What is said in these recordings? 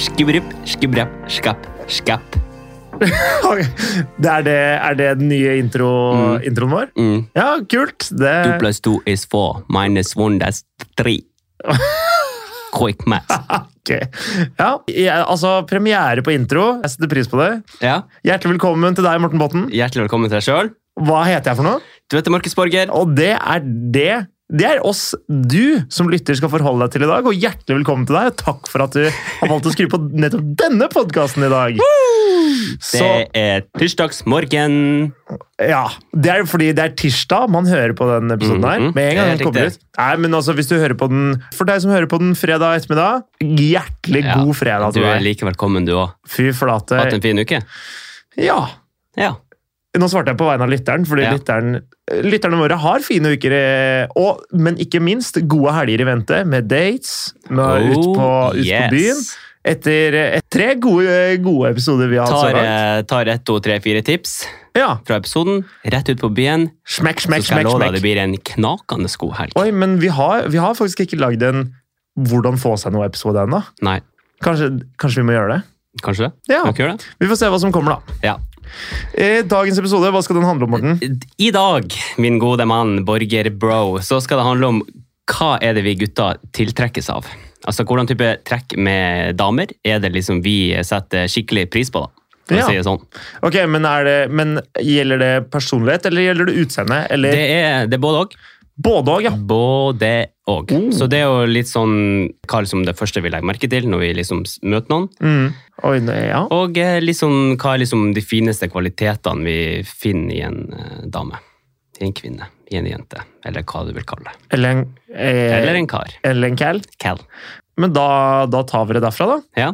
Skibrup, skibrap, skap, skap. Det er, det, er det den nye intro, introen vår? Mm. Ja, kult! Two Det, plus two is four. Minus one, that's three. Quick math. Ok. ja, jeg, altså, premiere på intro. Jeg setter pris på det. Ja. Hjertelig velkommen til deg, Morten Botten. Hjertelig velkommen til deg sjøl. Hva heter jeg for noe? Du heter Markus Borger. Og det er det. Det er oss du som lytter skal forholde deg til i dag, og hjertelig velkommen til deg. og Takk for at du har valgt å skru på nettopp denne podkasten i dag. Så, Det er tirsdagsmorgen. ja, det er jo fordi det er tirsdag man hører på den episoden her. Mhm, Med en gang det er den kommer riktig. ut. Nei, men altså, hvis du hører på den, For deg som hører på den fredag ettermiddag, hjertelig Ja, god fredag Du til er deg. like velkommen, du òg. Fy Hatt en flate. fin uke? Ja. Ja. Nå svarte jeg på vegne av lytteren, fordi Ja. lytteren, lytterne våre har fine uker. eh, Og, men ikke minst gode helger i vente, med dates, med ut, Oh, på, ut på byen. Etter eh, et, tre gode, gode episoder vi har hatt så Tar, langt. eh, tar ett, to, tre, fire tips Ja. fra episoden, rett ut på byen. Smekk, Så smekk, skal jeg smekk. love deg det smekk. blir en knakende god helg. Oi, men vi har, vi har faktisk ikke lagd en Hvordan få seg noe-episode ennå. Nei, Kanskje, kanskje vi må gjøre det? kanskje det? Ja. Kan vi ikke gjøre det? Vi får se hva som kommer, da. Ja. Eh, Dagens episode, hva skal den handle om, Morten? I dag, min gode mann Borger Bro, så skal det handle om hva er det vi gutter tiltrekkes av? Altså, Hvordan type trekk med damer er det liksom vi setter skikkelig pris på? da? For Ja. å si det sånn. Ok, men, er det, men Gjelder det personlighet, eller gjelder det utseende? Det Eller er, det er både og. både òg, ja. Både og. Mm. Så det er jo litt sånn hva liksom det første vi legger merke til når vi liksom s- møter noen. Mm. Oi, nei, ja. Og eh, liksom, hva er liksom de fineste kvalitetene vi finner i en eh, dame? I en kvinne, i en jente, eller hva du vil kalle det. Eller en, eh, Eller en kar. eller en cal. Cal. Men da, da tar vi det derfra, da. Ja.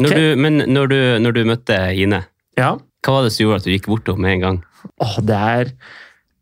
Når Ok. du, men når du, når du møtte Ine, Ja. hva var det som gjorde at du gikk bort til henne med en gang? Åh, det er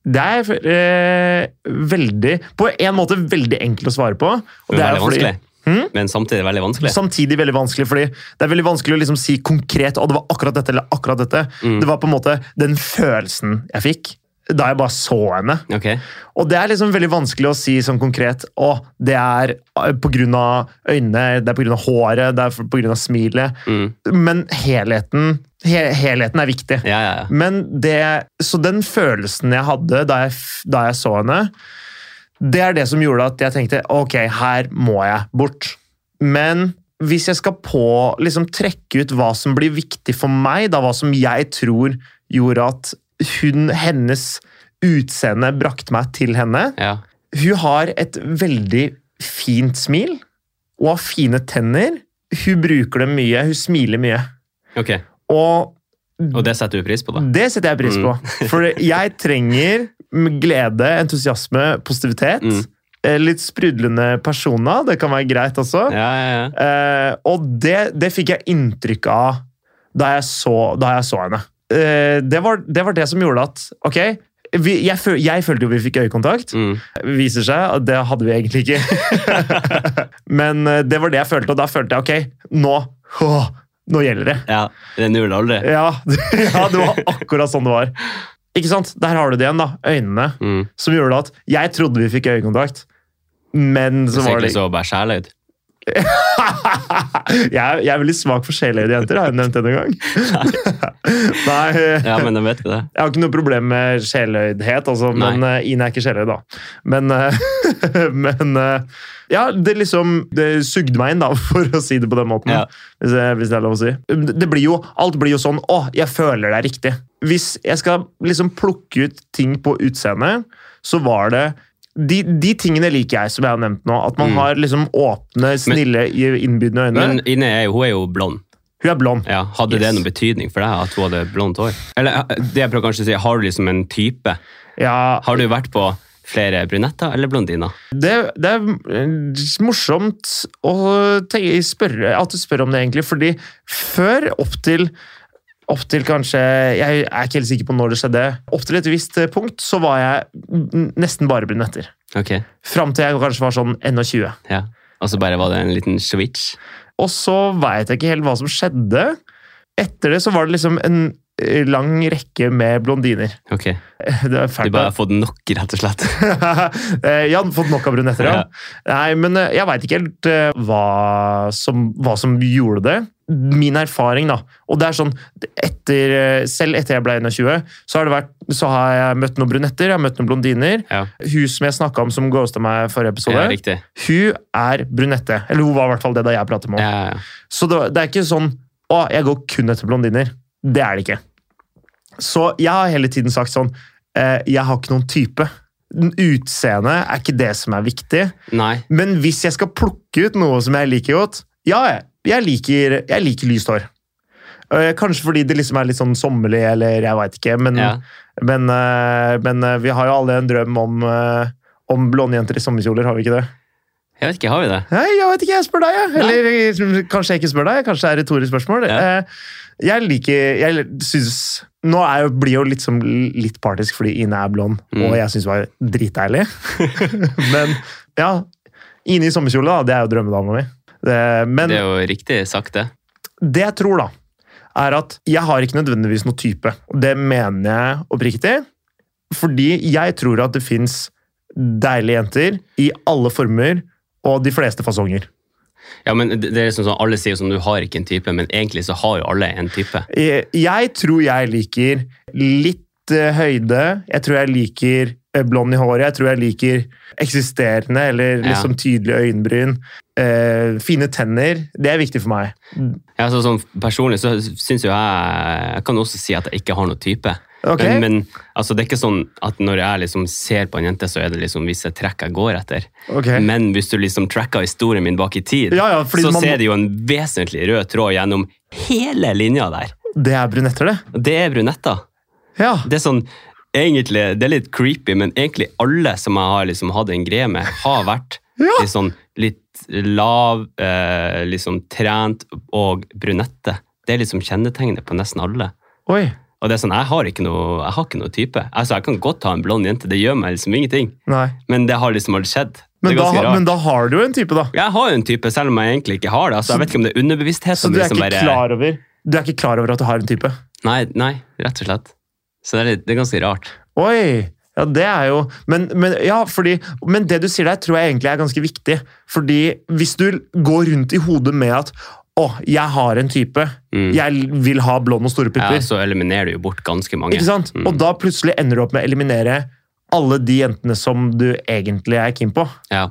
Det er eh, veldig På en måte veldig enkelt å svare på. og Men det er veldig fordi- vanskelig. Hm? Men samtidig veldig vanskelig. Samtidig veldig vanskelig, fordi det er veldig vanskelig å liksom si konkret at det var akkurat dette eller akkurat dette. Mm. Det var på en måte den følelsen jeg fikk da jeg bare så henne. Ok. Og det er liksom veldig vanskelig å si sånn konkret å, det er eh, på grunn av øynene, det er på grunn av håret, det er for- på grunn av smilet. Mm. Men helheten, he helheten er viktig. Ja, ja, ja. Men det, så den følelsen jeg hadde da jeg, f- da jeg så henne, det er det som gjorde at jeg tenkte ok, her må jeg bort. Men hvis jeg skal på, liksom trekke ut hva som blir viktig for meg, da hva som jeg tror gjorde at hun, hennes utseende brakte meg til henne ja. Hun har et veldig fint smil og har fine tenner. Hun bruker dem mye, hun smiler mye. Ok. Og Og det setter du pris på, Mm. da? det setter jeg pris på. For jeg trenger glede, entusiasme, positivitet. Mm. eh, Litt sprudlende personer. Det kan være greit også. Ja, ja, ja. Eh, og det, det fikk jeg inntrykk av da jeg så, da jeg så henne. Eh, det, var, det var det som gjorde at Ok, vi, jeg, føl, jeg følte jo vi fikk øyekontakt. Mm. Det viser seg at det hadde vi egentlig ikke. Men eh, det var det jeg følte, og da følte jeg ok, nå, åh, nå gjelder det. ja. Det er null aldri. Ja, ja, det var akkurat sånn det var. Ikke sant? Der har du det igjen, da. Øynene. Mm. Som gjorde at jeg trodde vi fikk øyekontakt, men så var det Sikkert så bare sjæla ut. jeg, er- jeg er veldig svak for sjeløyde jenter, har jeg nevnt det noen gang? Nei. Ja, men da vet vi det. Jeg har ikke noe problem med sjeløydhet, altså, Nei. men eh, Ine er ikke sjeløyd, da. Men, eh, men eh, Ja, det liksom Det sugde meg inn, da, for å si det på den måten. Ja. Hvis, jeg, hvis det er lov å si. Det blir jo, alt blir jo sånn Å, jeg føler det er riktig. Hvis jeg skal liksom plukke ut ting på utseendet, så var det de, de tingene liker jeg, som jeg har nevnt nå. At man Mm. har liksom åpne, snille, innbydende øyne. Men Ine er jo, hun er jo blond. Hun er blond. Ja, hadde det Yes. noen betydning for deg at hun hadde blondt hår? Eller eh, det jeg prøver kanskje å si, har du liksom en type? Ja, Har du vært på flere brunetter eller blondiner? Det, det er eh, morsomt å tenke, spørre, at du spør om det, egentlig. Fordi før, opp til, opp til kanskje Jeg er ikke helt sikker på når det skjedde. Opp til et visst eh, punkt så var jeg n- nesten bare brunetter. Ok, Fram til jeg kanskje var sånn 21. ja. Og så bare var det en liten switch? Og så veit jeg ikke helt hva som skjedde. Etter det så var det liksom en eh, lang rekke med blondiner. Ok, Det er du fælt. bare har fått nok, rett og slett. Eh, jeg hadde fått nok av brunetter, ja. Nei, men eh, jeg veit ikke helt eh, hva som, hva som gjorde det. min erfaring, da. Og det er sånn, etter, eh, Selv etter jeg ble 21, så har, det vært, så har jeg møtt noen brunetter, jeg har møtt noen blondiner. Ja. Hun som jeg snakka om som ghosta meg i forrige episode, Ja, riktig. hun er brunette. Eller hun var i hvert fall det da jeg pratet med henne. Ja, ja. Så det, det er ikke sånn å, jeg går kun etter blondiner. Det er det ikke. Så jeg har hele tiden sagt sånn eh, Jeg har ikke noen type. Utseendet er ikke det som er viktig. Nei. Men hvis jeg skal plukke ut noe som jeg liker godt Ja, jeg- jeg liker, jeg liker lyst hår. Eh, Kanskje fordi det liksom er litt sånn sommerlig, eller jeg veit ikke. Men, Ja. men, eh, men eh, vi har jo alle en drøm om, eh, om blonde jenter i sommerkjoler, har vi ikke det? Jeg vet ikke, har vi det? Nei, jeg vet ikke, jeg spør deg, jeg. Eller eh, kanskje jeg ikke spør deg, kanskje det er et retorisk spørsmål. Ja. Eh, Jeg liker Jeg syns Nå er jeg, blir jeg jo litt, som, litt partisk fordi Ine er blond, Mm. og jeg syns det var dritdeilig. Men ja, Ine i sommerkjole, da, det er jo drømmedama mi. Det- Men Det det, er jo riktig sagt, det. jeg tror, da, er at jeg har ikke nødvendigvis noe type. Og det mener jeg oppriktig, fordi jeg tror at det fins deilige jenter i alle former og de fleste fasonger. Ja, men det det er liksom sånn, Alle sier jo sånn du har ikke en type, men egentlig så har jo alle en type. Eh, Jeg tror jeg liker litt eh, høyde. Jeg tror jeg liker eh, blond i håret. Jeg tror jeg liker eksisterende eller Ja. liksom tydelige øyenbryn. Eh, fine tenner. Det er viktig for meg. Ja, så sånn Personlig så syns jo jeg Jeg kan også si at jeg ikke har noen type. Ok? Men, men altså, det er ikke sånn at når jeg liksom ser på en jente, så er det liksom visse trekk jeg går etter. ok. Men hvis du liksom tracker historien min bak i tid, Ja, ja, fordi så man- ser det jo en vesentlig rød tråd gjennom hele linja der. Det er brunetter, det. Og Det er brunetter. Ja. Det er sånn, egentlig, det er litt creepy, men egentlig alle som jeg har liksom hatt en greie med, har vært litt sånn litt lav, eh, liksom trent og brunette. Det er liksom kjennetegnet på nesten alle. Oi. Og det er sånn, jeg har ikke noe, jeg har ikke noe type. Altså, jeg kan godt ha en blond jente, det gjør meg liksom ingenting. Nei. Men det har liksom aldri skjedd. Men det er da, ganske ha- rart. men da har du jo en type, da. Jeg har jo en type, selv om jeg egentlig ikke har det. Altså, jeg vet ikke om det er underbevissthet. Så som du er liksom ikke bare- klar over Du er ikke klar over at du har en type? Nei, nei, rett og slett. Så det er, litt, det er ganske rart. Oi! Ja, det er jo Men, men, ja, fordi, men det du sier der, tror jeg egentlig er ganske viktig. Fordi hvis du går rundt i hodet med at 'Å, jeg har en type. Mm. Jeg vil ha blond og store Ja, pupper.' så Mm. eliminerer du jo bort ganske mange. ikke sant? Og da plutselig ender du opp med å eliminere alle de jentene som du egentlig er keen på. Ja.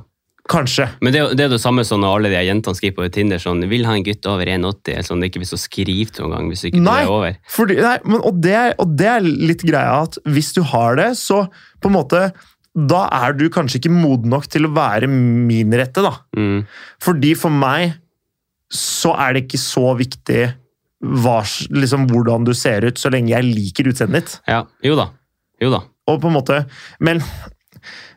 Kanskje. Men det, er jo- det er det samme sånn når alle de her jentene skriver på Tinder sånn, vil ha en gutt over 1,80, eller sånn, det er ikke vits å skrive til noen gang hvis ikke Nei. du er over. Fordi, nei, men, og, det, er- og det er litt greia at hvis du har det, så på en måte Da er du kanskje ikke moden nok til å være min rette, da. Mm. Fordi for meg så er det ikke så viktig hva, s- liksom, hvordan du ser ut, så lenge jeg liker utseendet ditt. Ja, jo da. Jo da. Og på en måte, men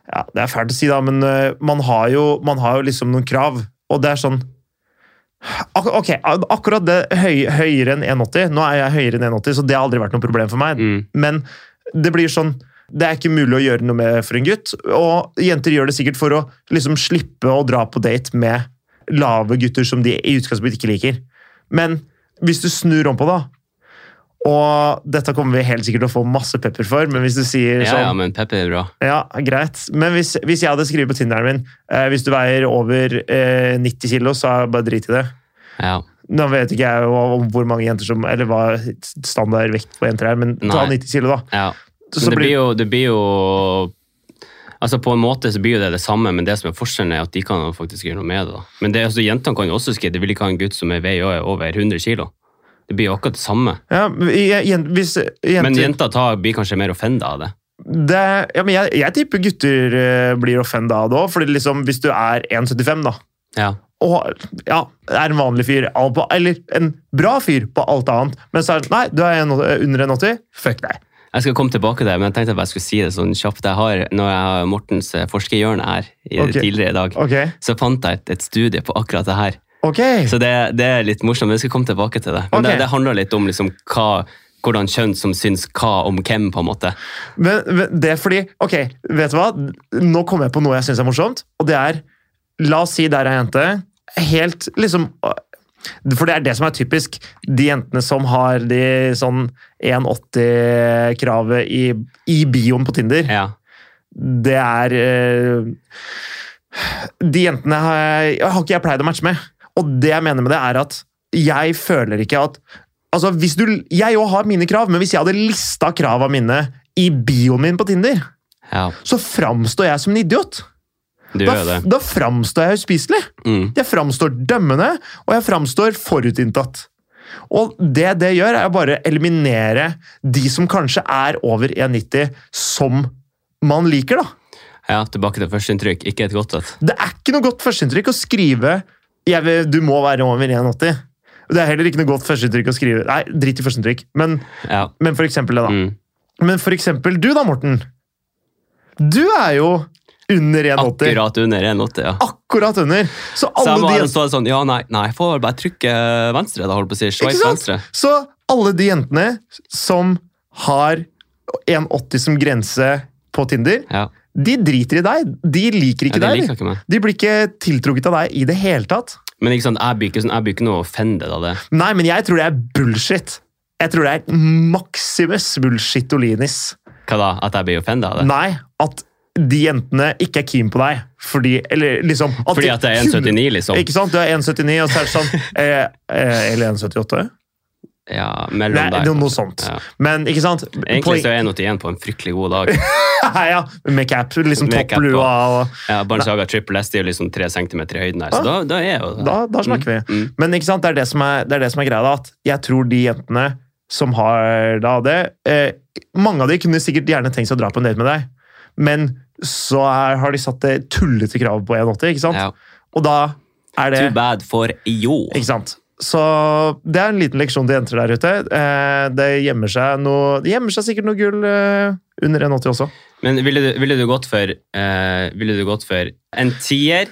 ja, Det er fælt å si, da, men øh, man har, jo, man har jo liksom noen krav. Og det er sånn ak Ok, ak- akkurat det høy, høyere enn 1,80. Nå er jeg høyere enn 1,80, så det har aldri vært noe problem for meg. Mm. Men det blir sånn Det er ikke mulig å gjøre noe med for en gutt. Og jenter gjør det sikkert for å liksom slippe å dra på date med lave gutter som de i utgangspunktet ikke liker. Men hvis du snur om på det, da, og dette kommer vi helt sikkert til å få masse pepper for, men hvis du sier Ja, ja, sånn men Peppe er bra. Ja, greit. Men hvis, hvis jeg hadde skrevet på Tinderen min eh, Hvis du veier over eh, 90 kilo, så er det bare drit i det. Ja. Nå vet ikke jeg hva- om hvor mange jenter som Eller hva standardvekt på jenter er, men ta Nei. 90 kilo, da. ja. Så Men det blir- blir jo, det blir jo Altså På en måte så blir jo det det samme, men det som er forskjellen er at de kan jo faktisk gjøre noe med det. da. Men det, er altså, jentene kan jo også skrive de vil ikke ha en gutt som er veier over 100 kg. Det blir jo akkurat det samme. Ja, men je- jen- hvis jenter, Men jenter tar, blir kanskje mer offenda av det. det, ja, men jeg, jeg tipper gutter eh, blir offenda av det òg. For liksom, hvis du er 1,75 da, Ja. og ja, er en vanlig fyr, all på- eller en bra fyr på alt annet, men så er det sånn, nei, du er en, under 1,80, fuck deg. Jeg skal komme tilbake til det, men jeg tenkte at jeg skulle si det sånn kjapt. Jeg har, når jeg har Mortens eh, forskerhjørne her i, Ok. tidligere i dag, Ok. så fant jeg et, et studie på akkurat det her. ok. Så det, det er litt morsomt, men jeg skal komme tilbake til det. Men Ok. det, det handler litt om liksom hva, hvordan kjønn som syns hva om hvem, på en måte. Men, men det er fordi Ok, vet du hva? Nå kommer jeg på noe jeg syns er morsomt, og det er La oss si der er jente. Helt liksom For det er det som er typisk. De jentene som har de sånn 1,80-kravet i, i bioen på Tinder, Ja. det er eh, De jentene har, har ikke jeg pleid å matche med. Og det jeg mener med det, er at jeg føler ikke at Altså, hvis du Jeg òg har mine krav, men hvis jeg hadde lista krava mine i bioen min på Tinder, Ja, så framstår jeg som en idiot. du Da, gjør det. da framstår jeg uspiselig. Mm. Jeg framstår dømmende, og jeg framstår forutinntatt. Og det det gjør, er å bare eliminere de som kanskje er over 1,90, som man liker, da. Ja, tilbake til førsteinntrykk. Ikke et godt et. Det er ikke noe godt førsteinntrykk å skrive jeg vil, 'du må være over 1,80'. Det er heller ikke noe godt førsteinntrykk å skrive Nei, drit i førsteinntrykk, men, Ja. men for eksempel det, da. Mm. Men for eksempel du, da, Morten. Du er jo under 1,80. Akkurat. Akkurat under 1,80, ja. under. Så Så jeg alle må de bare stå sånn Ja, nei, nei, jeg får bare trykke venstre, da, holdt på å si. Sveis Ikke sant? venstre. Så alle de jentene som har 1,80 som grense på Tinder, Ja. de driter i deg. De liker ja ikke de deg. liker de. ikke meg. De blir ikke tiltrukket av deg i det hele tatt. Men ikke sant, jeg blir ikke, sånn, jeg blir ikke noe offended av det. Nei, men jeg tror det er bullshit. Jeg tror det er maximus bullshitolinis. Hva da? At jeg blir offended av det? Nei, at de jentene ikke er keen på deg. Fordi Eller liksom at Fordi de- at jeg er 1,79, liksom? Ikke sant? Du er 1,79, og så er det sånn eh, eh, Eller 1,78? Ja, mellom Nei, der. noe, noe kanskje. sånt. Ja. Men ikke sant? Egentlig Poeng- så er jeg 1,81 på en fryktelig god dag. Ja, ja. Med cap, liksom Med cap topplua og Jeg har Barnsaga triple S, det er jo liksom tre centimeter i høyden her, så da, da er jeg jo det. Ah. Da, da snakker vi. Mm. Men ikke sant, det er det som er, det er, det som er greia, da. At jeg tror de jentene som har da det eh, Mange av de kunne sikkert gjerne tenkt seg å dra på en date med deg, men så er, har de satt det tullete kravet på 1,80, ikke sant? Ja. Og da er det Too bad for jo. Ikke sant? Så det er en liten leksjon til jenter der ute. Eh, det gjemmer seg noe Det gjemmer seg sikkert noe gull eh, under 1,80 også. Men ville du, ville du gått for eh, Ville du gått for en tier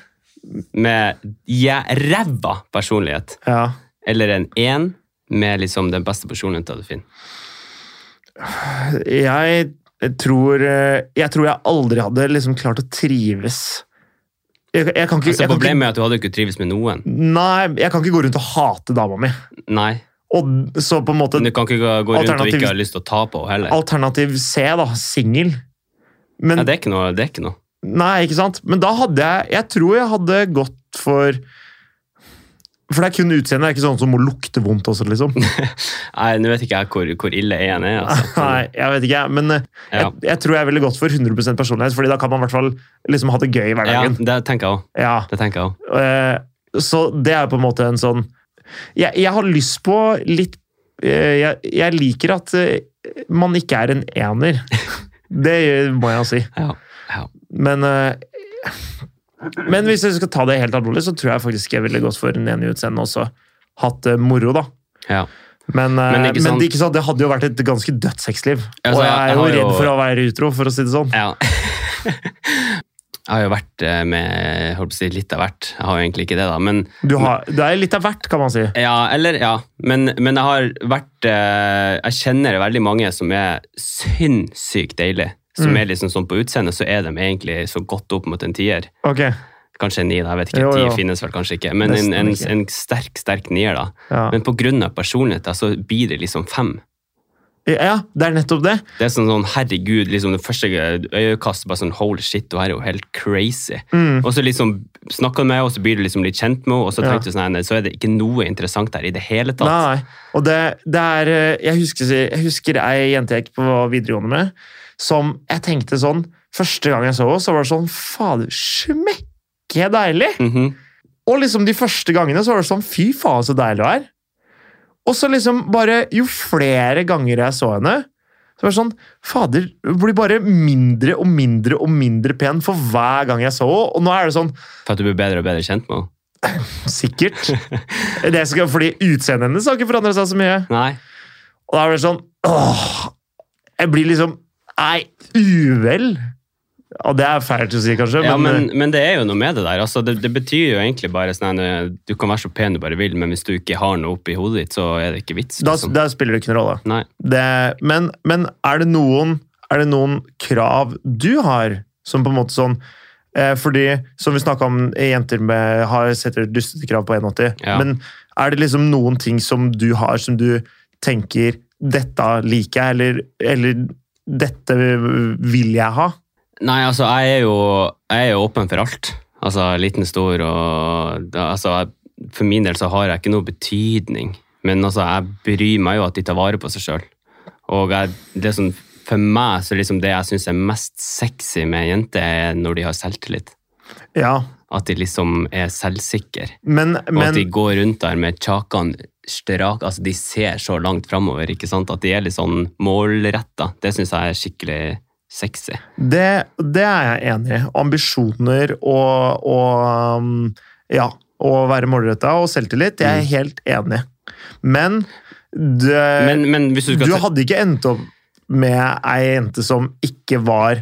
med ja, ræva personlighet, Ja. eller en én med liksom den beste personligheten du finner? Jeg tror eh, Jeg tror jeg aldri hadde liksom klart å trives. Jeg, jeg kan Altså, ikke, jeg kan ikke problemet er at du hadde ikke trives med noen. Nei, jeg kan ikke gå rundt og hate dama mi. Nei. Og så på en måte Men du kan ikke gå gå rundt og Alternativ- ikke ha lyst til å ta på henne heller. Alternativ C, da. Singel. Men Ja, det er ikke noe. Det er ikke noe. Nei, ikke sant? Men da hadde jeg Jeg tror jeg hadde gått for For det er kun utseendet, det er ikke sånn som må lukte vondt også, liksom. Nei, nå vet ikke jeg hvor, hvor ille én er. Altså. Nei, jeg vet ikke, men eh, jeg, Ja. jeg tror jeg ville gått for 100 personlighet, Fordi da kan man i hvert fall liksom ha det gøy i Ja, hverdagen. det tenker jeg òg. Ja. Det tenker jeg også. Eh, Så det er på en måte en sånn Jeg, jeg har lyst på litt eh, jeg, jeg liker at eh, man ikke er en ener. Det må jeg jo si. Ja. ja. Men eh, Men hvis jeg skal ta det helt alvorlig, så tror jeg faktisk jeg ville gått for en enig utseende også. Hatt det moro, da. ja. Men, eh, Men men, ikke sant- det, ikke sant? det hadde jo vært et ganske dødt sexliv. Ja, så og jeg- jeg er jeg jo har jo- redd for å være utro, for å si det sånn. Ja. Jeg har jo vært eh, med jeg holdt på å si litt av hvert. Jeg har jo egentlig ikke det, da. Men, Du har, det er litt av hvert, kan man si. ja, eller, ja. men, men jeg har vært eh, Jeg kjenner veldig mange som er sinnssykt deilige. Som Mm. er liksom sånn På utseendet så er de egentlig så godt opp mot en tier. Ok, Kanskje en nier, da, jeg vet ikke. Jo, Ti jo. finnes vel kanskje ikke. Men en, Nesten en, ikke. en sterk, sterk nier, da. ja. Men på grunn av personligheten så blir det liksom fem. ja, det er nettopp det. Det er sånn, sånn herregud, liksom det første øyekastet bare sånn holy shit, du her er jo helt crazy. Mm. Og så liksom snakka med henne, og så blir du liksom litt kjent med henne, og så Ja. tenkte du sånn, nei, så er det ikke noe interessant der i det hele tatt. Nei, nei. Og det, det er eh, jeg husker, jeg husker ei jente jeg gikk på videregående med, som jeg tenkte sånn Første gang jeg så henne, så var det sånn Fader, smekke deilig! Mhm. Og liksom de første gangene så var det sånn Fy faen, så deilig hun er! Og så liksom bare Jo flere ganger jeg så henne, så var det sånn Fader, hun blir bare mindre og mindre og mindre pen for hver gang jeg så henne. Og nå er det sånn For at du blir bedre og bedre kjent med henne. Sikkert. Det skal, fordi utseendet hennes har ikke forandra seg så mye. Nei. Og da er det sånn Åh! Jeg blir liksom Nei, uvel! Og det er feil til å si, kanskje, Ja, men, men, men det er jo noe med det der. Altså, det, det betyr jo egentlig bare sånn eh, du kan være så pen du bare vil, men hvis du ikke har noe oppi hodet ditt, så er det ikke vits. eh, da, Liksom. da spiller det ikke noen rolle. Nei. Det, men men er, det noen, er det noen krav du har som på en måte sånn eh, Fordi, som vi snakka om, eh, jenter med, har setter dustete krav på 1,80. Ja. Men er det liksom noen ting som du har som du tenker 'Dette liker jeg', eller, eller 'Dette vil jeg ha'? Nei, altså, jeg er jo, jeg er jo åpen for alt. Altså, liten, stor og da- altså, jeg, for min del så har jeg ikke noe betydning. Men altså, jeg bryr meg jo at de tar vare på seg sjøl. Og jeg, det som, for meg så er liksom det jeg syns er mest sexy med jenter, er når de har selvtillit. Ja, At de liksom er selvsikre. men, Og at men de går rundt der med kjakene strak, altså de ser så langt framover, ikke sant? At de er litt sånn målretta. Det syns jeg er skikkelig sexy. det, det er jeg enig i. Ambisjoner og, og um, Ja, å være målretta og selvtillit, jeg er Mm. helt enig. Men det Men, men hvis du skal Eh, Du hadde ikke endt opp med ei jente som ikke var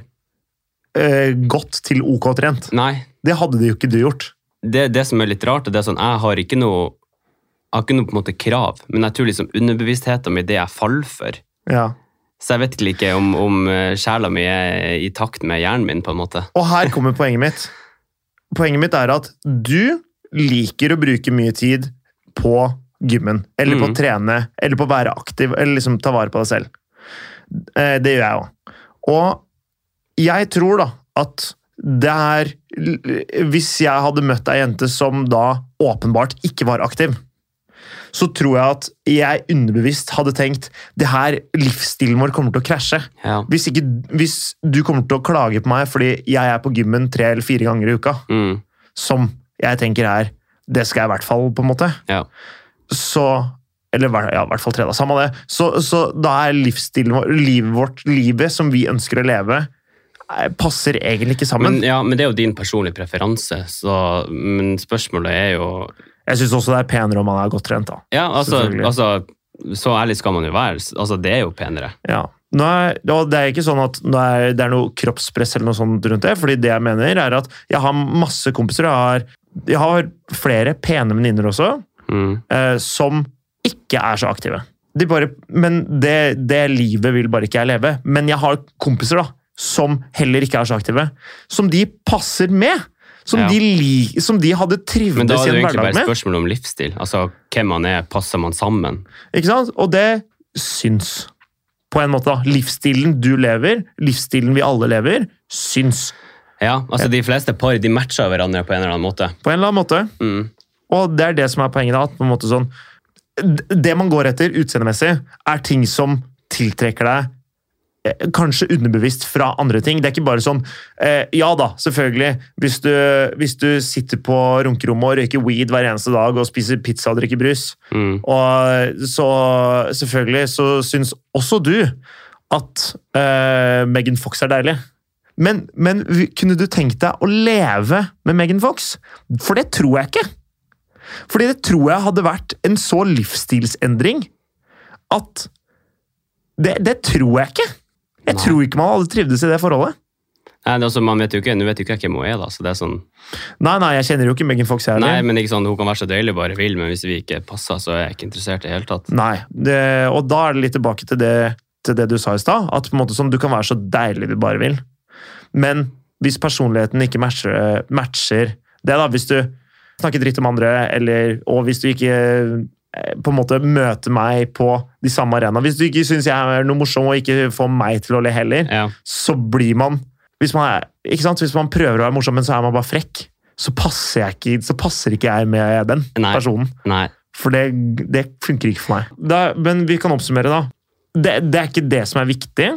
eh, godt til OK trent. Nei, Det hadde de jo ikke du gjort. det, det som er litt rart, og det er sånn, jeg har ikke noe jeg har ikke noe på en måte krav, men jeg tror liksom underbevisstheten min er det jeg faller for. Ja. Så jeg vet ikke om, om eh, sjela mi er i takt med hjernen min, på en måte. Og her kommer poenget mitt. Poenget mitt er at du liker å bruke mye tid på gymmen, eller på å Mm. trene, eller på å være aktiv, eller liksom ta vare på deg selv. Eh, Det gjør jeg òg. Og jeg tror da at det er Hvis jeg hadde møtt ei jente som da åpenbart ikke var aktiv, så tror jeg at jeg underbevisst hadde tenkt det her livsstilen vår kommer til å krasje Ja. hvis, ikke, hvis du kommer til å klage på meg fordi jeg er på gymmen tre eller fire ganger i uka, Mm, som jeg tenker er Det skal jeg i hvert fall, på en måte. ja. Så Eller hver- ja, i hvert fall tre, da. Samme det. Så, så da er livsstilen vår, livet vårt, livet som vi ønsker å leve, eh, passer egentlig ikke sammen. Men, ja, men det er jo din personlige preferanse, så, men spørsmålet er jo jeg syns også det er penere om man er godt trent, da. Ja, altså, Selvfølgelig. altså Så ærlig skal man jo være. Altså, det er jo penere. Ja. Nå er, og det er ikke sånn at nå er, det er noe kroppspress eller noe sånt rundt det, fordi det jeg mener er at jeg har masse kompiser, og jeg har, jeg har flere pene venninner også, Mm. eh, som ikke er så aktive. De bare, men det, det livet vil bare ikke jeg leve. Men jeg har kompiser da, som heller ikke er så aktive, som de passer med! Som, Ja. de, li, som de hadde Men da er trivdes i det en jo egentlig hverdag bare med. spørsmål om livsstil. Altså, hvem man er, passer man sammen? Ikke sant? Og det syns. På en måte, da. Livsstilen du lever, livsstilen vi alle lever, syns. Ja, altså De fleste par de matcher hverandre på en eller annen måte. På en eller annen måte. Mm. Og det er det som er poenget. da, at på en måte sånn, d- Det man går etter utseendemessig, er ting som tiltrekker deg eh, Kanskje underbevisst fra andre ting. Det er ikke bare sånn eh, Ja da, selvfølgelig. Hvis du, hvis du sitter på runkerommet og røyker weed hver eneste dag og spiser pizza og drikker brus, Mm. Og så selvfølgelig så syns også du at eh, Megan Fox er deilig. Men, men vi- kunne du tenkt deg å leve med Megan Fox? For det tror jeg ikke. Fordi det tror jeg hadde vært en så livsstilsendring at Det, det tror jeg ikke. Jeg Nei. tror ikke man hadde trivdes i det forholdet. Nei, det er altså, man vet jo ikke, Nå vet jo ikke jeg hvem hun er, da. så det er sånn... Nei, nei, jeg kjenner jo ikke Megan Fox, jeg Nei, heller. men det er ikke sånn, Hun kan være så deilig bare vil, men hvis vi ikke passer, så er jeg ikke interessert i det hele tatt. Nei, det, og da er det litt tilbake til det, til det du sa i stad. At på en måte sånn, du kan være så deilig du bare vil. Men hvis personligheten ikke matcher, matcher det, da Hvis du snakker dritt om andre, eller, og hvis du ikke eh, på en måte møter meg på de samme arenaene Hvis du ikke syns jeg er noe morsom og ikke får meg til å le heller, Ja, så blir man hvis man, er, ikke sant? hvis man prøver å være morsom, men så er man bare frekk, så passer, jeg ikke, så passer ikke jeg med den Nei. personen. Nei. For det, det funker ikke for meg. Da, men vi kan oppsummere, da. Det, det er ikke det som er viktig,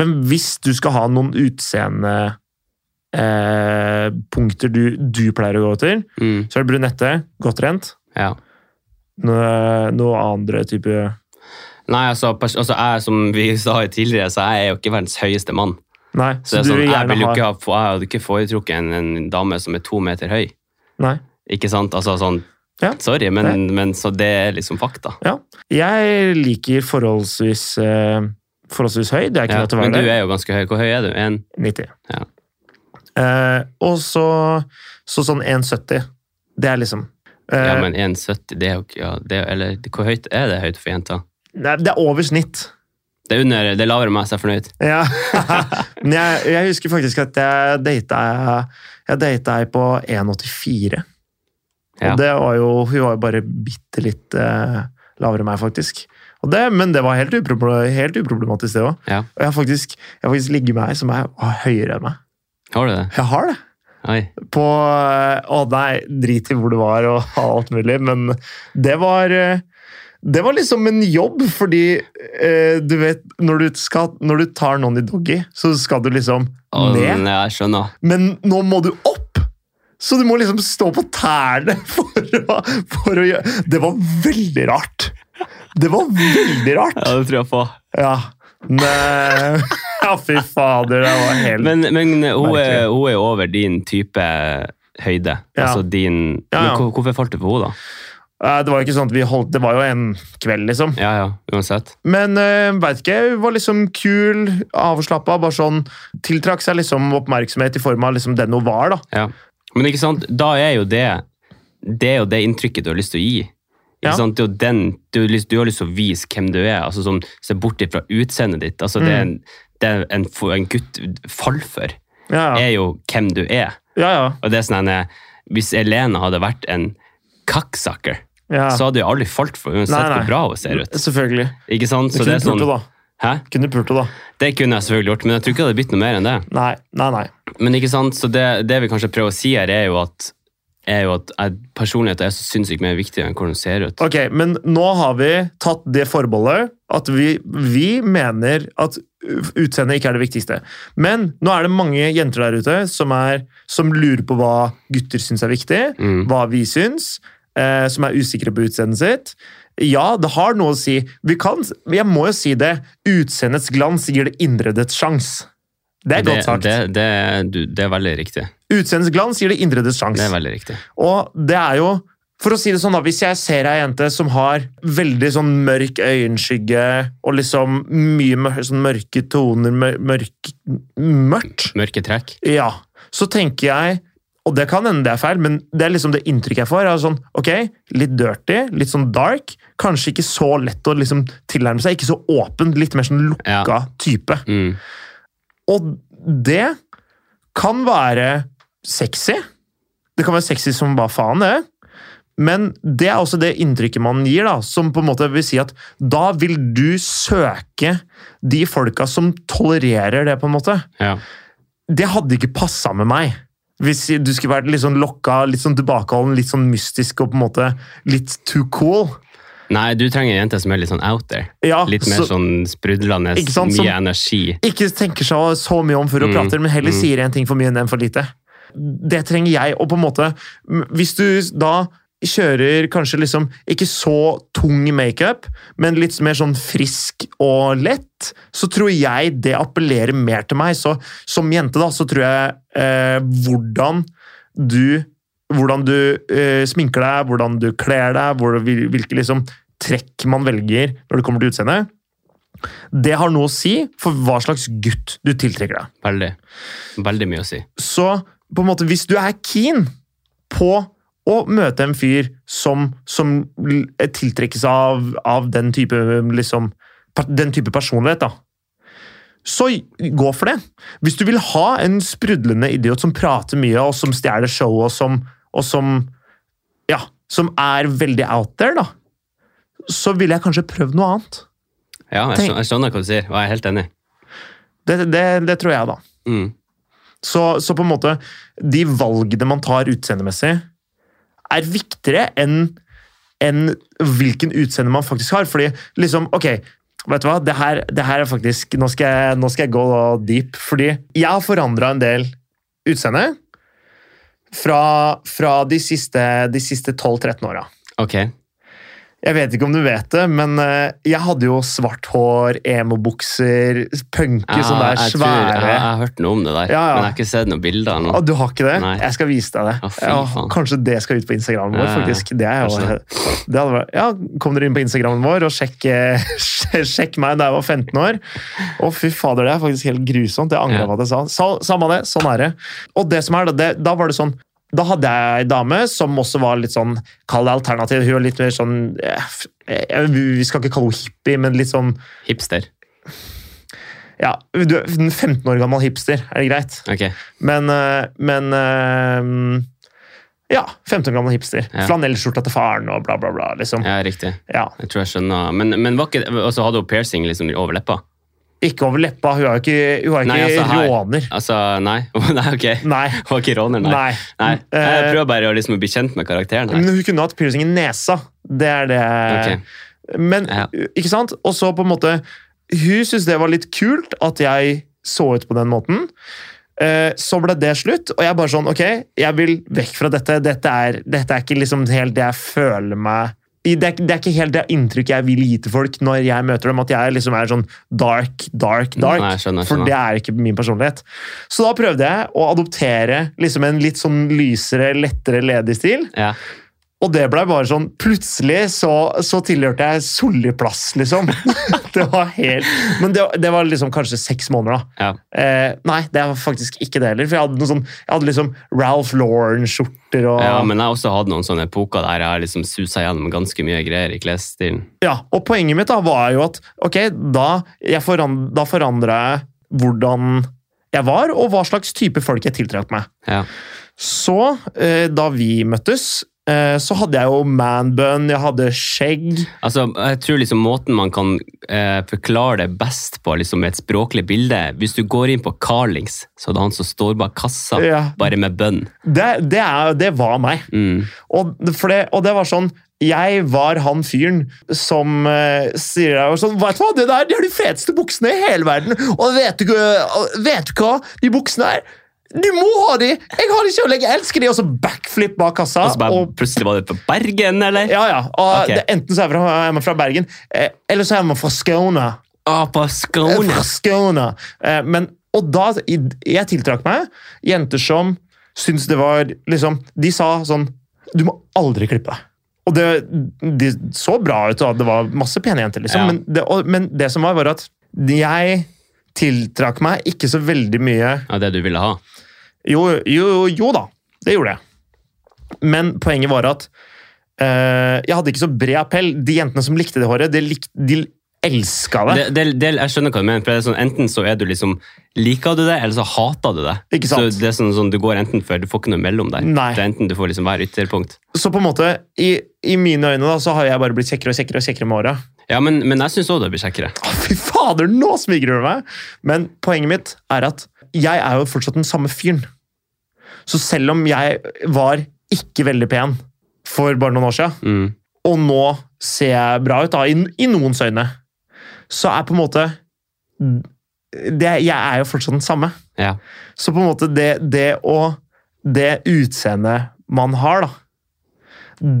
men hvis du skal ha noen utseende eh, punkter du, du pleier å gå etter, Mm. så er det brunette, godt trent. Ja. Noe, noe andre type Nei, altså, pers altså jeg, som vi sa tidligere, så jeg er jo ikke verdens høyeste mann. Nei. Så, det er sånn, jeg, vil jo ikke ha, jeg hadde ikke foretrukket en, en dame som er to meter høy. Nei. Ikke sant? Altså sånn Ja. Sorry, men, men så det er liksom fakta. Jeg liker forholdsvis, eh, forholdsvis høy. Det er ikke Ja, noe til å men være du det. er jo ganske høy. Hvor høy er du? En, 90. Ja. Eh, og så, så sånn 1,70. Det er liksom eh, ja, men 1,70 det er jo ikke ja, det er, Eller hvor høyt er det høyt for jenter? Nei, det er over snitt. Det er under, det er lavere enn meg, så jeg er fornøyd. Ja. Men jeg, jeg husker faktisk at jeg data jeg data ei på 1,84. Ja. Og det var jo, hun var jo bare bitte litt eh, lavere enn meg, faktisk. Og det, men det var helt, uproble- helt uproblematisk, det òg. Ja. Og jeg har faktisk, jeg har faktisk ligget med ei som er høyere enn meg. Har du det? Jeg har det! Oi. på eh, Å nei, drit i hvor du var og alt mulig, men det var eh, det var liksom en jobb, fordi eh, du vet Når du, skal, når du tar noen i doggy, så skal du liksom Å, ned. nei, jeg skjønner. Men nå må du opp! Så du må liksom stå på tærne for å, for å gjøre Det var veldig rart. Det var veldig rart. Ja, det tror jeg på. Ja. Nei. ja, fy fader, det var helt Men, men eh, hun, er, Merkelig. hun er jo over din type høyde. Ja. Altså din Ja, ja. Men hvor- hvorfor falt du på henne, da? Eh, Det var jo ikke sånn at vi holdt Det var jo en kveld, liksom. Ja ja, uansett. Men uh, veit ikke. Hun var liksom kul, avslappa, bare sånn Tiltrakk seg liksom oppmerksomhet i form av liksom den hun var, da. Ja. Men ikke sant, da er jo det Det er jo det inntrykket du har lyst til å gi. Ikke Ja. sant? Det er jo den, du, har lyst, du har lyst til å vise hvem du er, altså sånn, se bort fra utseendet ditt. Altså, Mm. Det er en, det er en, for- en gutt faller for, Ja, ja. er jo hvem du er. ja, ja. Og det er sånn en, Hvis Elena hadde vært en kakksakker, ja. så hadde jeg aldri falt for uansett Nei, nei. hvor bra hun ser ut. Selvfølgelig. Ikke sant? Så kunne det er sånn, pult henne, da. hæ? Kunne pult henne, da. Det kunne jeg selvfølgelig gjort, men jeg tror ikke det hadde blitt noe mer enn det. Nei, nei, nei. Men ikke sant, så det, det vi kanskje prøver å si her, er jo at, er jo at jeg, personlighet er så sinnssykt mer viktig enn hvordan du ser ut. Ok, men nå har vi tatt det forbeholdet at vi, vi mener at utseendet ikke er det viktigste. Men nå er det mange jenter der ute som, er, som lurer på hva gutter syns er viktig, Mm. hva vi syns, eh, som er usikre på utseendet sitt. Ja, det har noe å si. Vi kan, jeg må jo si det. Utseendets glans gir det indre dets sjans. Det er godt sagt. Det, det, du, det er veldig riktig. Utseendets glans gir det indre dets sjans. Det er veldig riktig. Og det er jo For å si det sånn, da, hvis jeg ser ei jente som har veldig sånn mørk øyenskygge og liksom mye mør sånn mørke toner, mør mørk Mørkt, Mørke trekk. ja, så tenker jeg og det kan hende det er feil, men det er liksom det inntrykket jeg får. er sånn, ok, Litt dirty, litt sånn dark. Kanskje ikke så lett å liksom tilnærme seg. Ikke så åpen, litt mer sånn lukka Ja. type. Mm. Og det kan være sexy. Det kan være sexy som hva faen, det. Men det er også det inntrykket man gir, da, som på en måte vil si at da vil du søke de folka som tolererer det, på en måte. Ja. Det hadde ikke passa med meg. Hvis du skulle vært litt sånn lokka, litt sånn tilbakeholden, litt sånn mystisk og på en måte litt too cool. Nei, du trenger en jente som er litt sånn out there. Ja, Litt mer Ah, så- sånn sprudlende, Ikke sant, mye som- energi. ikke tenker seg så mye om før hun Mm, prater, men heller mm. sier en ting for mye enn en for lite. Det trenger jeg, og på en måte m- Hvis du da kjører kanskje liksom ikke så tung makeup, men litt mer sånn frisk og lett, så tror jeg det appellerer mer til meg. Så som jente, da, så tror jeg eh, hvordan du hvordan du eh, sminker deg, hvordan du kler deg, hvor, hvil- hvilke liksom, trekk man velger når det kommer til utseendet. Det har noe å si for hva slags gutt du tiltrekker deg. Veldig. Veldig mye å si. Så på en måte, hvis du er keen på å møte en fyr som, som l- tiltrekkes av, av den, type, liksom, per- den type personlighet, da, så i- gå for det. Hvis du vil ha en sprudlende idiot som prater mye, og som stjeler showet, og som, og som Ja, som er veldig out there, da, så ville jeg kanskje prøvd noe annet. Ja, jeg Tenk- skjønner, jeg skjønner hva du sier, og jeg er helt enig. Det, det, det tror jeg, da. Mm. Så, så på en måte, de valgene man tar utseendemessig, er viktigere enn enn hvilken utseende man faktisk har. Fordi liksom, ok, vet du hva, det her, det her er faktisk Nå skal jeg, nå skal jeg gå deep. Fordi jeg har forandra en del utseende fra, fra de siste, de siste 12-13 åra. Ok. Jeg vet ikke om du vet det, men eh, jeg hadde jo svart hår, emobukser, punker, Jeg, sånne Ah, sånn der jeg, tror, jeg, svære jeg har hørt noe om det der, Ja, ja. men jeg har ikke sett noen bilder. eller Ah, noe. du har ikke det? Nei. Jeg skal vise deg det. Å, fy ja, faen. kanskje det skal ut på Instagramen Ja, vår, ja, ja. faktisk. Det er jo, det hadde vært, ja, kom dere inn på Instagramen vår og sjekk, eh, sjekk meg da jeg var 15 år. Å, fy fader, det er faktisk helt grusomt. Jeg angrer Ja. på at jeg sa. Så, samme det, sånn er det. Og det som er, da, det, da var det sånn da hadde jeg ei dame som også var litt sånn Kall det alternativ. Hun var litt mer sånn eh, f- eh, Vi skal ikke kalle henne hippie, men litt sånn Hipster. ja, du er en 15 år gammel hipster. Er det greit? Ok. Men, eh, men eh, Ja, 15 år gammel hipster. Ja. Flanellskjorta til faren og bla, bla, bla. liksom. Ja, riktig. Ja. Jeg tror jeg skjønner. Men, men var ikke, og så hadde hun piercing liksom over leppa. Ikke over leppa. Hun er jo ikke, hun er ikke Nei, altså, her- råner. Altså, nei. nei, ok. Nei. Hun var ikke råner, nei. Nei. nei. Jeg Eh, prøver bare å liksom bli kjent med karakteren her. Men hun kunne hatt piercing i nesa. Det er det Ok. Men, Ja. ikke sant? Og så på en måte Hun syntes det var litt kult at jeg så ut på den måten. Eh, Så ble det slutt, og jeg bare sånn Ok, jeg vil vekk fra dette. Dette er, dette er ikke liksom helt det jeg føler meg i- det er, ikke- det er ikke helt det inntrykket jeg vil gi til folk når jeg møter dem. At jeg liksom er sånn dark, dark, dark. Mm, Nei, jeg skjønner, jeg For skjønner. det er ikke min personlighet. Så da prøvde jeg å adoptere liksom en litt sånn lysere, lettere, ledig stil. Ja. Og det blei bare sånn Plutselig så, så tilhørte jeg Solliplass, liksom. det var helt Men det, det var liksom kanskje seks måneder, da. ja. Eh, nei, det var faktisk ikke det heller. For jeg hadde, noe sånn, jeg hadde liksom Ralph Lauren-skjorter og Ja, men jeg har også hatt noen sånne epoker der jeg har liksom susa gjennom ganske mye greier i klesstilen. Ja, og poenget mitt da var jo at ok, da, jeg foran, da forandra jeg hvordan jeg var, og hva slags type folk jeg tiltrakk meg. Ja. Så, eh, da vi møttes, eh, så hadde jeg jo manbun, jeg hadde skjegg Altså, jeg tror liksom måten man kan eh, forklare det best på liksom med et språklig bilde Hvis du går inn på Carlings, så er det han som står bak kassa, Ja. bare med bønn. Det, det, er, det var meg. Mm. Og, det- for det, og det var sånn Jeg var han fyren som eh, sier deg og sånn Vet du hva, det der de har de feteste buksene i hele verden! Og vet du, ikke- og vet du hva de buksene er? Du må ha de! Jeg har de selv, jeg elsker de! Og så backflip bak kassa. Og så bare og, plutselig var det på Bergen, eller? ja, ja, Ok. og det, enten så er jeg fra, er man fra Bergen, eh, eller så er man fra Skåne. Ah, på Skåne! Fra Skåne. Eh, men, og da, i- jeg tiltrakk meg jenter som syntes det var liksom, De sa sånn Du må aldri klippe deg. Og det, de så bra ut, og det var masse pene jenter, liksom. Ja. Men, det, og, men det som var, var at jeg tiltrakk meg ikke så veldig mye Ja, det du ville ha. jo, jo, jo da, det gjorde jeg. Men poenget var at eh, jeg hadde ikke så bred appell. De jentene som likte det håret, de, lik, de elska det. Det, det, det, jeg skjønner hva du mener. for det er sånn, Enten så er du liksom, liker du det, eller så hater du det. Ikke sant? Så det er sånn, sånn, Du går enten før, du får ikke noe mellom der. Nei. Det er enten du får liksom hver ytterpunkt. Så på en måte, i, i mine øyne da, så har jeg bare blitt kjekkere og kjekkere og kjekkere med året. Ja, Men, men jeg syns òg det blir kjekkere. Å, fy fader, nå smigrer du meg! Men poenget mitt er at jeg er jo fortsatt den samme fyren. Så selv om jeg var ikke veldig pen for bare noen år siden, Mm. og nå ser jeg bra ut da, i, i noens øyne, så er på en måte det, Jeg er jo fortsatt den samme. Ja. Så på en måte det, det å Det utseendet man har, da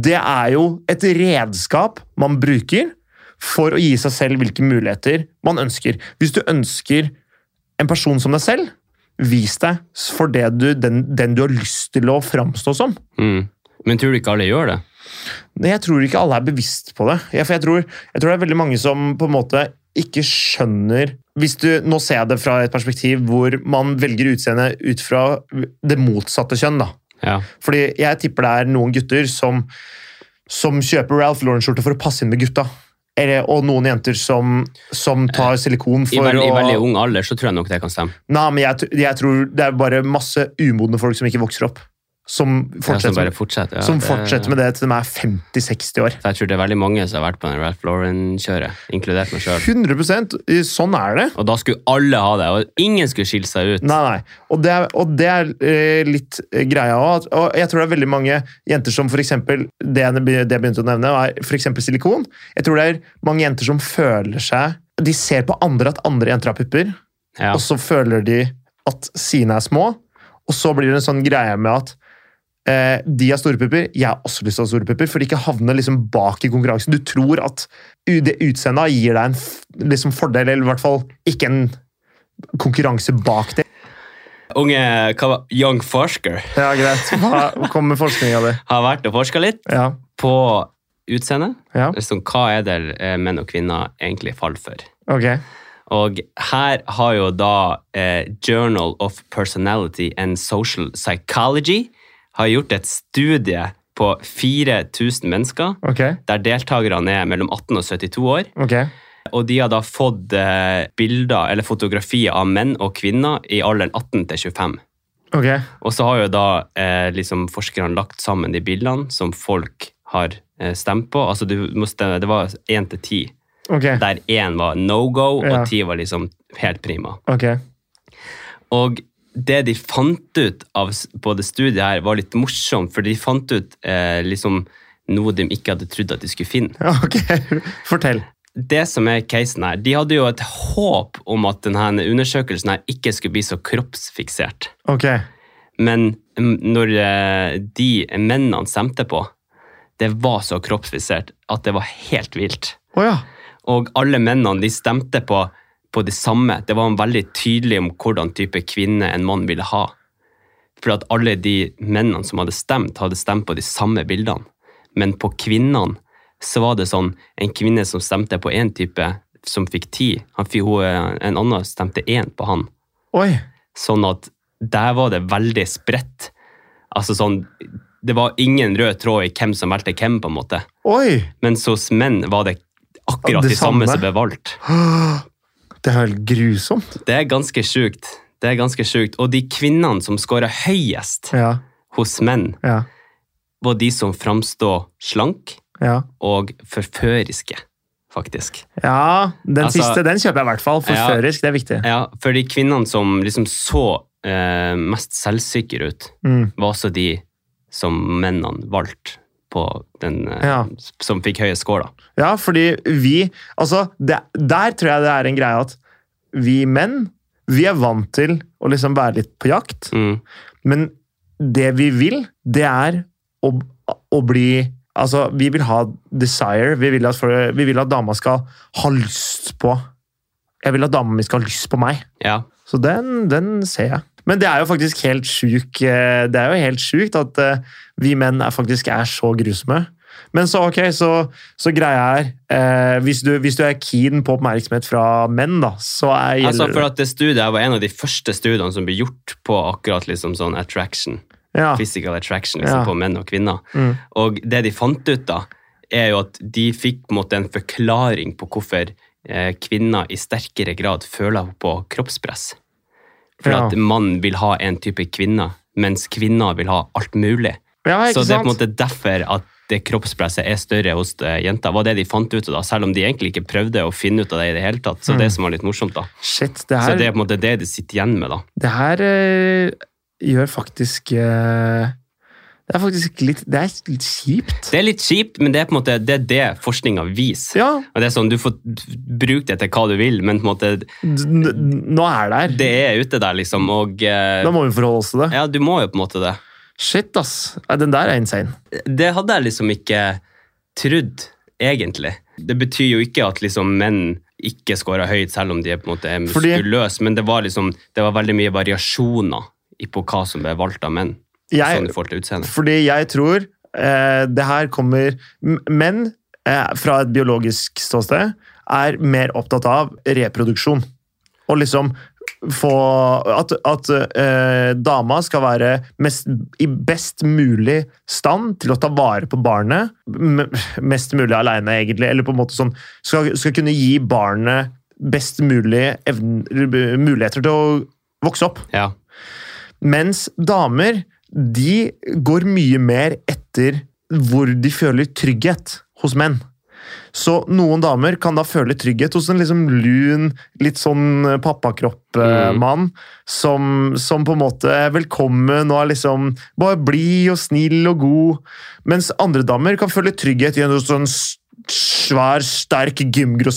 Det er jo et redskap man bruker for å gi seg selv hvilke muligheter man ønsker. Hvis du ønsker en person som deg selv, vis deg for det du, den, den du har lyst til å framstå som. Mm. Men tror du ikke alle gjør det? Nei, Jeg tror ikke alle er bevisst på det. Jeg, for jeg, tror, jeg tror det er veldig mange som på en måte ikke skjønner hvis du, Nå ser jeg det fra et perspektiv hvor man velger utseende ut fra det motsatte kjønn. da. Ja. Fordi jeg tipper det er noen gutter som, som kjøper Ralph Lauren-skjorte for å passe inn med gutta. Eller, og noen jenter som, som tar silikon I, for veldig, I veldig å ung alder så tror jeg nok det kan stemme. Nei, men jeg, tr- jeg tror det er bare masse umodne folk som ikke vokser opp. Som Ja, som fortsetter, bare fortsetter. Ja, som det- fortsetter med det til de er 50-60 år. For Jeg tror det er veldig mange som har vært på den Ralph Lauren-kjøret, inkludert meg sjøl. 100 i- Sånn er det. Og da skulle alle ha det, og ingen skulle skille seg ut. Nei, nei. Og det er, og det er eh, litt eh, greia òg. Og jeg tror det er veldig mange jenter som f.eks. Det, jeg be- det jeg begynte å nevne, er for eksempel silikon. Jeg tror det er mange jenter som føler seg De ser på andre at andre jenter har pupper, Ja. og så føler de at sine er små. Og så blir det en sånn greie med at eh, de har store pupper, jeg har også lyst til å ha store pupper, for de ikke havner liksom bak i konkurransen. Du tror at u- det utseendet gir deg en f- liksom fordel, eller i hvert fall ikke en konkurranse bak det. Unge hva, var- young forsker Ja, greit. Hva kommer forskninga di? har vært og forska litt Ja. på utseende. ja, Liksom, hva er det eh, menn og kvinner egentlig faller for? ok. Og her har jo da eh, Journal of Personality and Social Psychology har gjort et studie på 4000 mennesker, Ok. der deltakerne er mellom 18 og 72 år. ok. Og de har da fått eh, bilder eller fotografier av menn og kvinner i alderen 18 til 25. Ok. Og så har jo da eh, liksom forskerne lagt sammen de bildene som folk har eh, stemt på. Altså du må stemme, det var 1 til 10, ok. der 1 var no go, Ja. og 10 var liksom helt prima. Ok. Og det de fant ut av s- på det studiet her, var litt morsomt, for de fant ut eh, liksom noe de ikke hadde trodd at de skulle finne. Ja, ok. Fortell. Det som er casen her, De hadde jo et håp om at denne undersøkelsen her ikke skulle bli så kroppsfiksert. Ok. Men mm, når eh, de mennene stemte på, det var så kroppsfiksert at det var helt vilt. Å ja. Og alle mennene de stemte på, på det samme. Det var veldig tydelig om hvordan type kvinne en mann ville ha. For at alle de mennene som hadde stemt, hadde stemt på de samme bildene. Men på kvinnene så var det sånn en kvinne som stemte på én type, som fikk ti. Han, fikk- hun, eh, en annen stemte én på han. Oi. Sånn at der var det veldig spredt. Altså sånn Det var ingen rød tråd i hvem som valgte hvem, på en måte. Oi. Mens hos menn var det akkurat Det det samme samme. som ble valgt. Det er helt grusomt. Det er ganske sjukt. Det er ganske sjukt. Og de kvinnene som scorer høyest Ja. hos menn, Ja. var de som framstår slank Ja. og forføriske, faktisk. Ja, den Altså- siste den kjøper jeg i hvert fall. Ja. Forførisk, det er viktig. Ja, for de kvinnene som liksom så eh, mest selvsikre ut, Mm. var også de som mennene valgte på den eh, Ja. som fikk høye score, da. Ja, fordi vi Altså, det, der tror jeg det er en greie at vi menn, vi er vant til å liksom være litt på jakt. Mm. Men det vi vil, det er å, å bli Altså, vi vil ha desire. Vi vil at, folk- vi vil at dama skal ha lyst på Jeg vil at dama mi skal ha lyst på meg. Ja. Så den, den ser jeg. Men det er jo faktisk helt sjuk, eh, det er jo helt sjukt at eh, vi menn er faktisk er så grusomme. Men så, ok, så, så greia er eh, hvis, du, hvis du er keen på oppmerksomhet fra menn, da, så er, Altså, gjelder for at det studiet her var en av de første studiene som ble gjort på akkurat liksom sånn attraction. det ja. physical attraction liksom, Ah. Ja. på menn og kvinner. Mm. Og det de fant ut da, er jo at de fikk på en måte en forklaring på hvorfor eh, kvinner i sterkere grad føler på kroppspress. For Ja. at mann vil ha en type kvinne, mens kvinner vil ha alt mulig. ja, Så ikke det er på en sant? måte derfor at det kroppspresset er større hos eh, jenter, var det de fant ut av da, selv om de egentlig ikke prøvde å finne ut av det i det hele tatt. Så det Mm. som var litt morsomt da. Shit, det Så her, det er det, på en måte det de sitter igjen med da. her eh, gjør faktisk eh, Det er faktisk litt Det er litt kjipt. Det er litt kjipt, men det er på en måte det, er det forskningen viser. Ja, Og det er sånn, Du får bruke det til hva du vil, men på en måte, d- n- nå er det her. det er ute der, liksom. Og eh, Da må vi forholde oss til det. ja, du må jo på en måte det. Shit, ass. Ja, Den der er insane. Det hadde jeg liksom ikke trodd, egentlig. Det betyr jo ikke at liksom menn ikke scorer høyt, selv om de er på en måte er Fordi- muskuløse, men det var liksom, det var veldig mye variasjoner i- på hva som ble valgt av menn. Jeg, sånn i forhold til utseende. Fordi jeg tror eh, det her kommer m- Menn eh, fra et biologisk ståsted er mer opptatt av reproduksjon. Og liksom få At, at eh, dama skal være mest, i best mulig stand til å ta vare på barnet. m- Mest mulig aleine, egentlig. Eller på en måte sånn Skal, skal kunne gi barnet best mulig evn, muligheter til å vokse opp. Ja. Mens damer, de går mye mer etter hvor de føler trygghet hos menn. Så noen damer kan da føle trygghet hos en liksom lun, litt sånn Mm. pappakropp-mann, som, som på en måte er velkommen og er liksom bare blid og snill og god. Mens andre damer kan føle trygghet i en sånn s- svær, sterk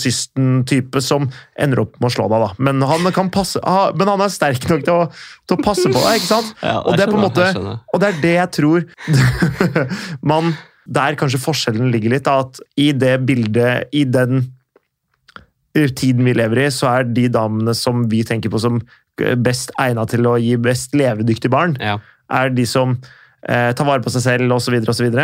gymgrossisten-type som ender opp med å slå deg, da. Men han, kan passe, ha, men han er sterk nok til å, til å passe på deg, ikke sant? ja Og jeg det er på en skjønner, jeg måte- skjønner. Og det er det jeg tror man Der kanskje forskjellen ligger litt, da, at i det bildet, i den tiden vi lever i, så er de damene som vi tenker på som best egna til å gi best levedyktige barn, Ja. er de som eh, tar vare på seg selv osv., osv.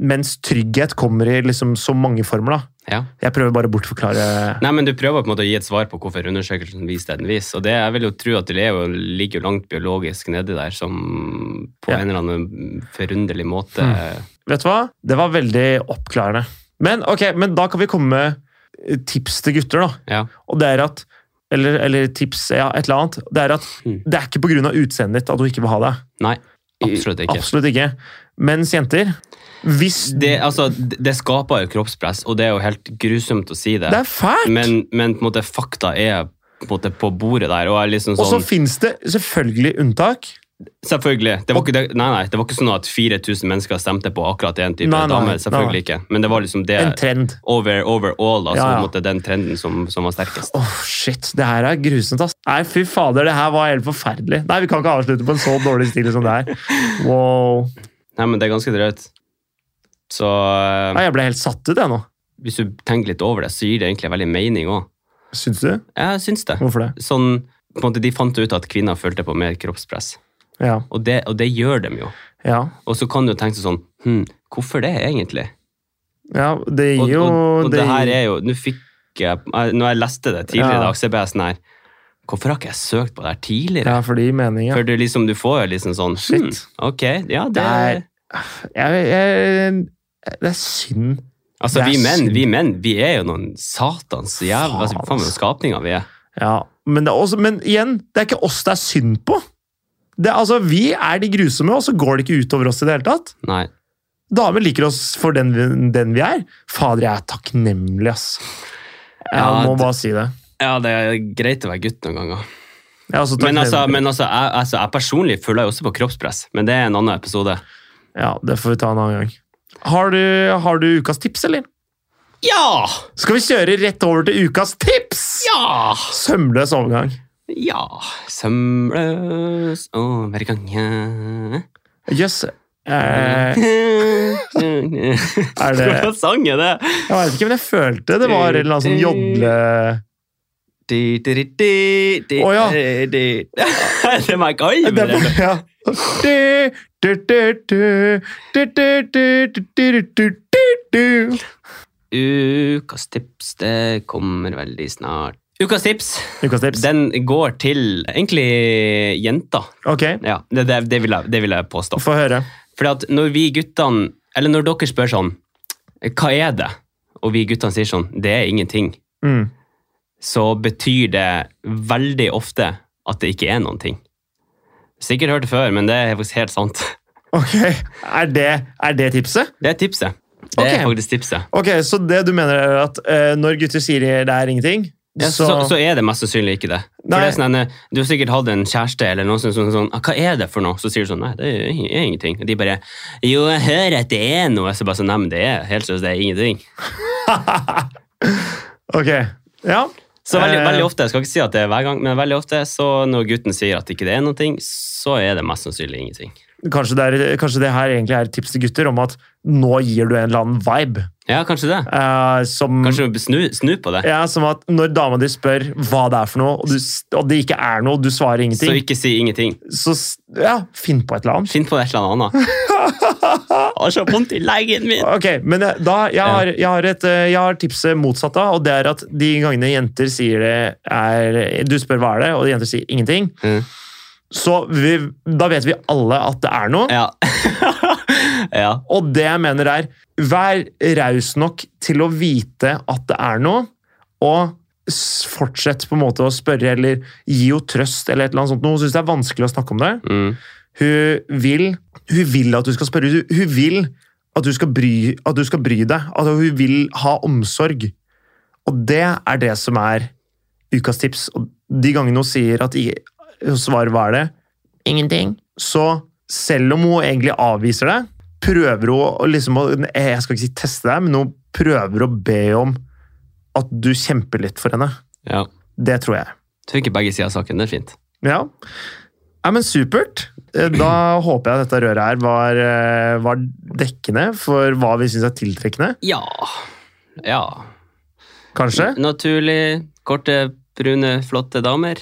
Mens trygghet kommer i liksom så mange former. da. ja. Jeg prøver bare å bortforklare Nei, men Du prøver på en måte å gi et svar på hvorfor undersøkelsen viser det den viser. og det, Jeg vil jo tro at det er jo, ligger jo langt biologisk nedi der, som på Ja. en eller annen forunderlig måte Vet du hva? Det var veldig oppklarende. Men ok, men da kan vi komme med tips til gutter, da. Ja. Og det er at eller, eller tips, ja, et eller annet. Det er at Mm. det er ikke pga. utseendet ditt at hun ikke vil ha deg. Nei, absolutt ikke. Absolutt ikke. Mens jenter Hvis det, Det, altså, det det skaper jo kroppspress, og det er jo helt grusomt å si det. er fælt! Men, men på en måte fakta er på, en måte, på bordet der. Og jeg er liksom Og så sånn, finnes det selvfølgelig unntak. selvfølgelig. Det var, ikke, det, nei, nei, det var ikke sånn at 4000 mennesker stemte på akkurat én type Nei, nei, dame. nei. Selvfølgelig ikke. Men det var liksom det En trend. over, overall, altså, Ja, ja. på en måte, den trenden som, som var sterkest. Åh, shit. Det her er grusomt, ass. Nei, fy fader, det her var helt forferdelig. Nei, vi kan ikke avslutte på en så dårlig stil som det her. Wow. Nei, men det er ganske drøyt. Så eh, Nei, jeg ble helt satt ut, jeg nå. hvis du tenker litt over det, så gir det egentlig veldig mening òg. Syns du? Jeg syns det. Hvorfor det? Sånn, på en måte, de fant ut at kvinner følte på mer kroppspress, Ja. og det, og det gjør dem jo. Ja. Og så kan du jo tenke sånn hm, Hvorfor det, egentlig? ja det Og, gir jo og, og det her gir- er jo Nå fikk jeg jeg- Når jeg leste det tidligere i Ja. dag, så ble jeg sånn her Hvorfor har ikke jeg søkt på det her tidligere? Ja, for det gir mening, ja. For du, liksom, du får jo liksom sånn Shit. hm, Ok, ja, det Det er- Jeg, jeg, det er synd. Altså, det er vi menn, synd. vi menn, vi er jo noen satans jævla altså, Faen, Faen, ass. noen skapninger vi er. Ja. Men, det er også, men igjen, det er ikke oss det er synd på. Det, er- altså, vi er de grusomme, og så går det ikke utover oss i det hele tatt. Nei. Damer liker oss for den, vi- den vi er. Fader, jeg er takknemlig, ass. Jeg Ja, må det- bare si det. Ja, det er greit å være gutt noen ganger. Jeg er også Men altså, takknemlig. men altså, jeg, altså jeg personlig føler jo også på kroppspress, men det er en annen episode. Ja, det får vi ta en annen gang. Har du, har du ukas tips, eller? Ja! Skal vi kjøre rett over til ukas tips? Ja! Sømløs overgang. Ja Sømløs over gangen Jøss. Eh, Er det- Hva sang er det? jeg vet ikke, men jeg følte det var en eller annen sånn jodle... Di, di, di, di, di, Å, ja. di, di. Det må jeg ikke ha i Det er meg. bare- ja. Du, du, du, du, du, du, du, du, du, du, du, du. Ukas tips, det kommer veldig snart. Ukas tips, Ukas tips. den går til egentlig jenter. Ok, Ja, det, det, det, vil, jeg, det vil jeg påstå. få høre. Fordi at når vi guttene, eller når dere spør sånn, hva er det? Og vi guttene sier sånn, det er ingenting. Mm. Så betyr det veldig ofte at det ikke er noen ting. Sikkert hørt det før, men det er faktisk helt sant. Ok, er det, er det tipset? Det er tipset. Det Ok. er faktisk tipset. Ok, så det du mener er at eh, når gutter sier det er ingenting, Ja, så, så, så, er det mest sannsynlig ikke det. For Nei. det er sånn, en, Du har sikkert hatt en kjæreste eller noen som sånn, sånn, «Ah, Hva er det for noe? Så sier du sånn Nei, det er ing- er ingenting. Og de bare Jo, jeg hører at det er noe. Så bare sånn Nei, men det er helt seriøst, det er ingenting. Ok, ja. Så veldig, Eh. veldig ofte, jeg skal ikke si at det er hver gang, men veldig ofte så når gutten sier at ikke det er noe, så er det mest sannsynlig ingenting. Kanskje det, er, kanskje det her egentlig er et tips til gutter om at nå gir du en eller annen vibe. Ja, kanskje det. eh, som, Kanskje snu, snu på det. ja, som at når dama di spør hva det er for noe, og, du, s- og det ikke er noe, og du svarer Så ingenting, ikke si ingenting. så s- ja, finn på et eller annet. Finn på et eller annet annet. Jeg har så vondt i leggen min! Ok, men eh, da, jeg har, jeg har, et, eh, jeg har tipset motsatt da, og det er at de gangene jenter sier det er Du spør hva er det, og jenter sier ingenting. Mhm. Så vi, da vet vi alle at det er noe. Ja. ja. Og det jeg mener er, vær raus nok til å vite at det er noe, og s- fortsett på en måte å spørre, eller gi henne trøst, eller et eller annet sånt. noe. Hun syns det er vanskelig å snakke om det. Mm. Hun vil, hun vil at du skal spørre. Hun, hun vil at du skal bry, at du skal bry deg. At hun vil ha omsorg. Og det er det som er ukas tips. Og de gangene hun sier at i- hun svarer hva er det? Ingenting. Så selv om hun egentlig avviser det, prøver hun å liksom å- Jeg skal ikke si teste deg, men hun prøver å be om at du kjemper litt for henne. ja. Det tror jeg. Du fikk begge sider av saken. Det er fint. Ja. ja, men supert. Eh, Da håper jeg dette røret her var, eh, var dekkende for hva vi syns er tiltrekkende, Ja. Ja. kanskje. Naturlig. Korte, brune, flotte damer.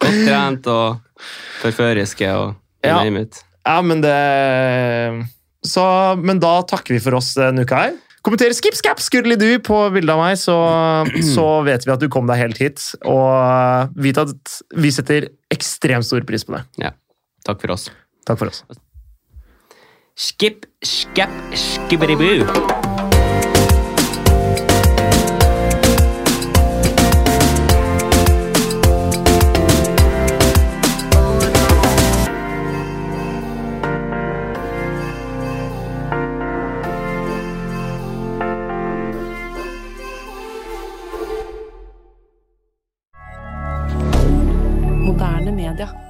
Godt trent og forføriske og you Ja. name it. Ja, men det Så, men da takker vi for oss denne uka her. Kommenter skip, skap, skurrelidu på bildet av meg, så, så vet vi at du kom deg helt hit. Og eh, vit at vi setter ekstremt stor pris på det. Ja. Takk for oss. Takk for oss. Skip, skap, skibberiboo. media.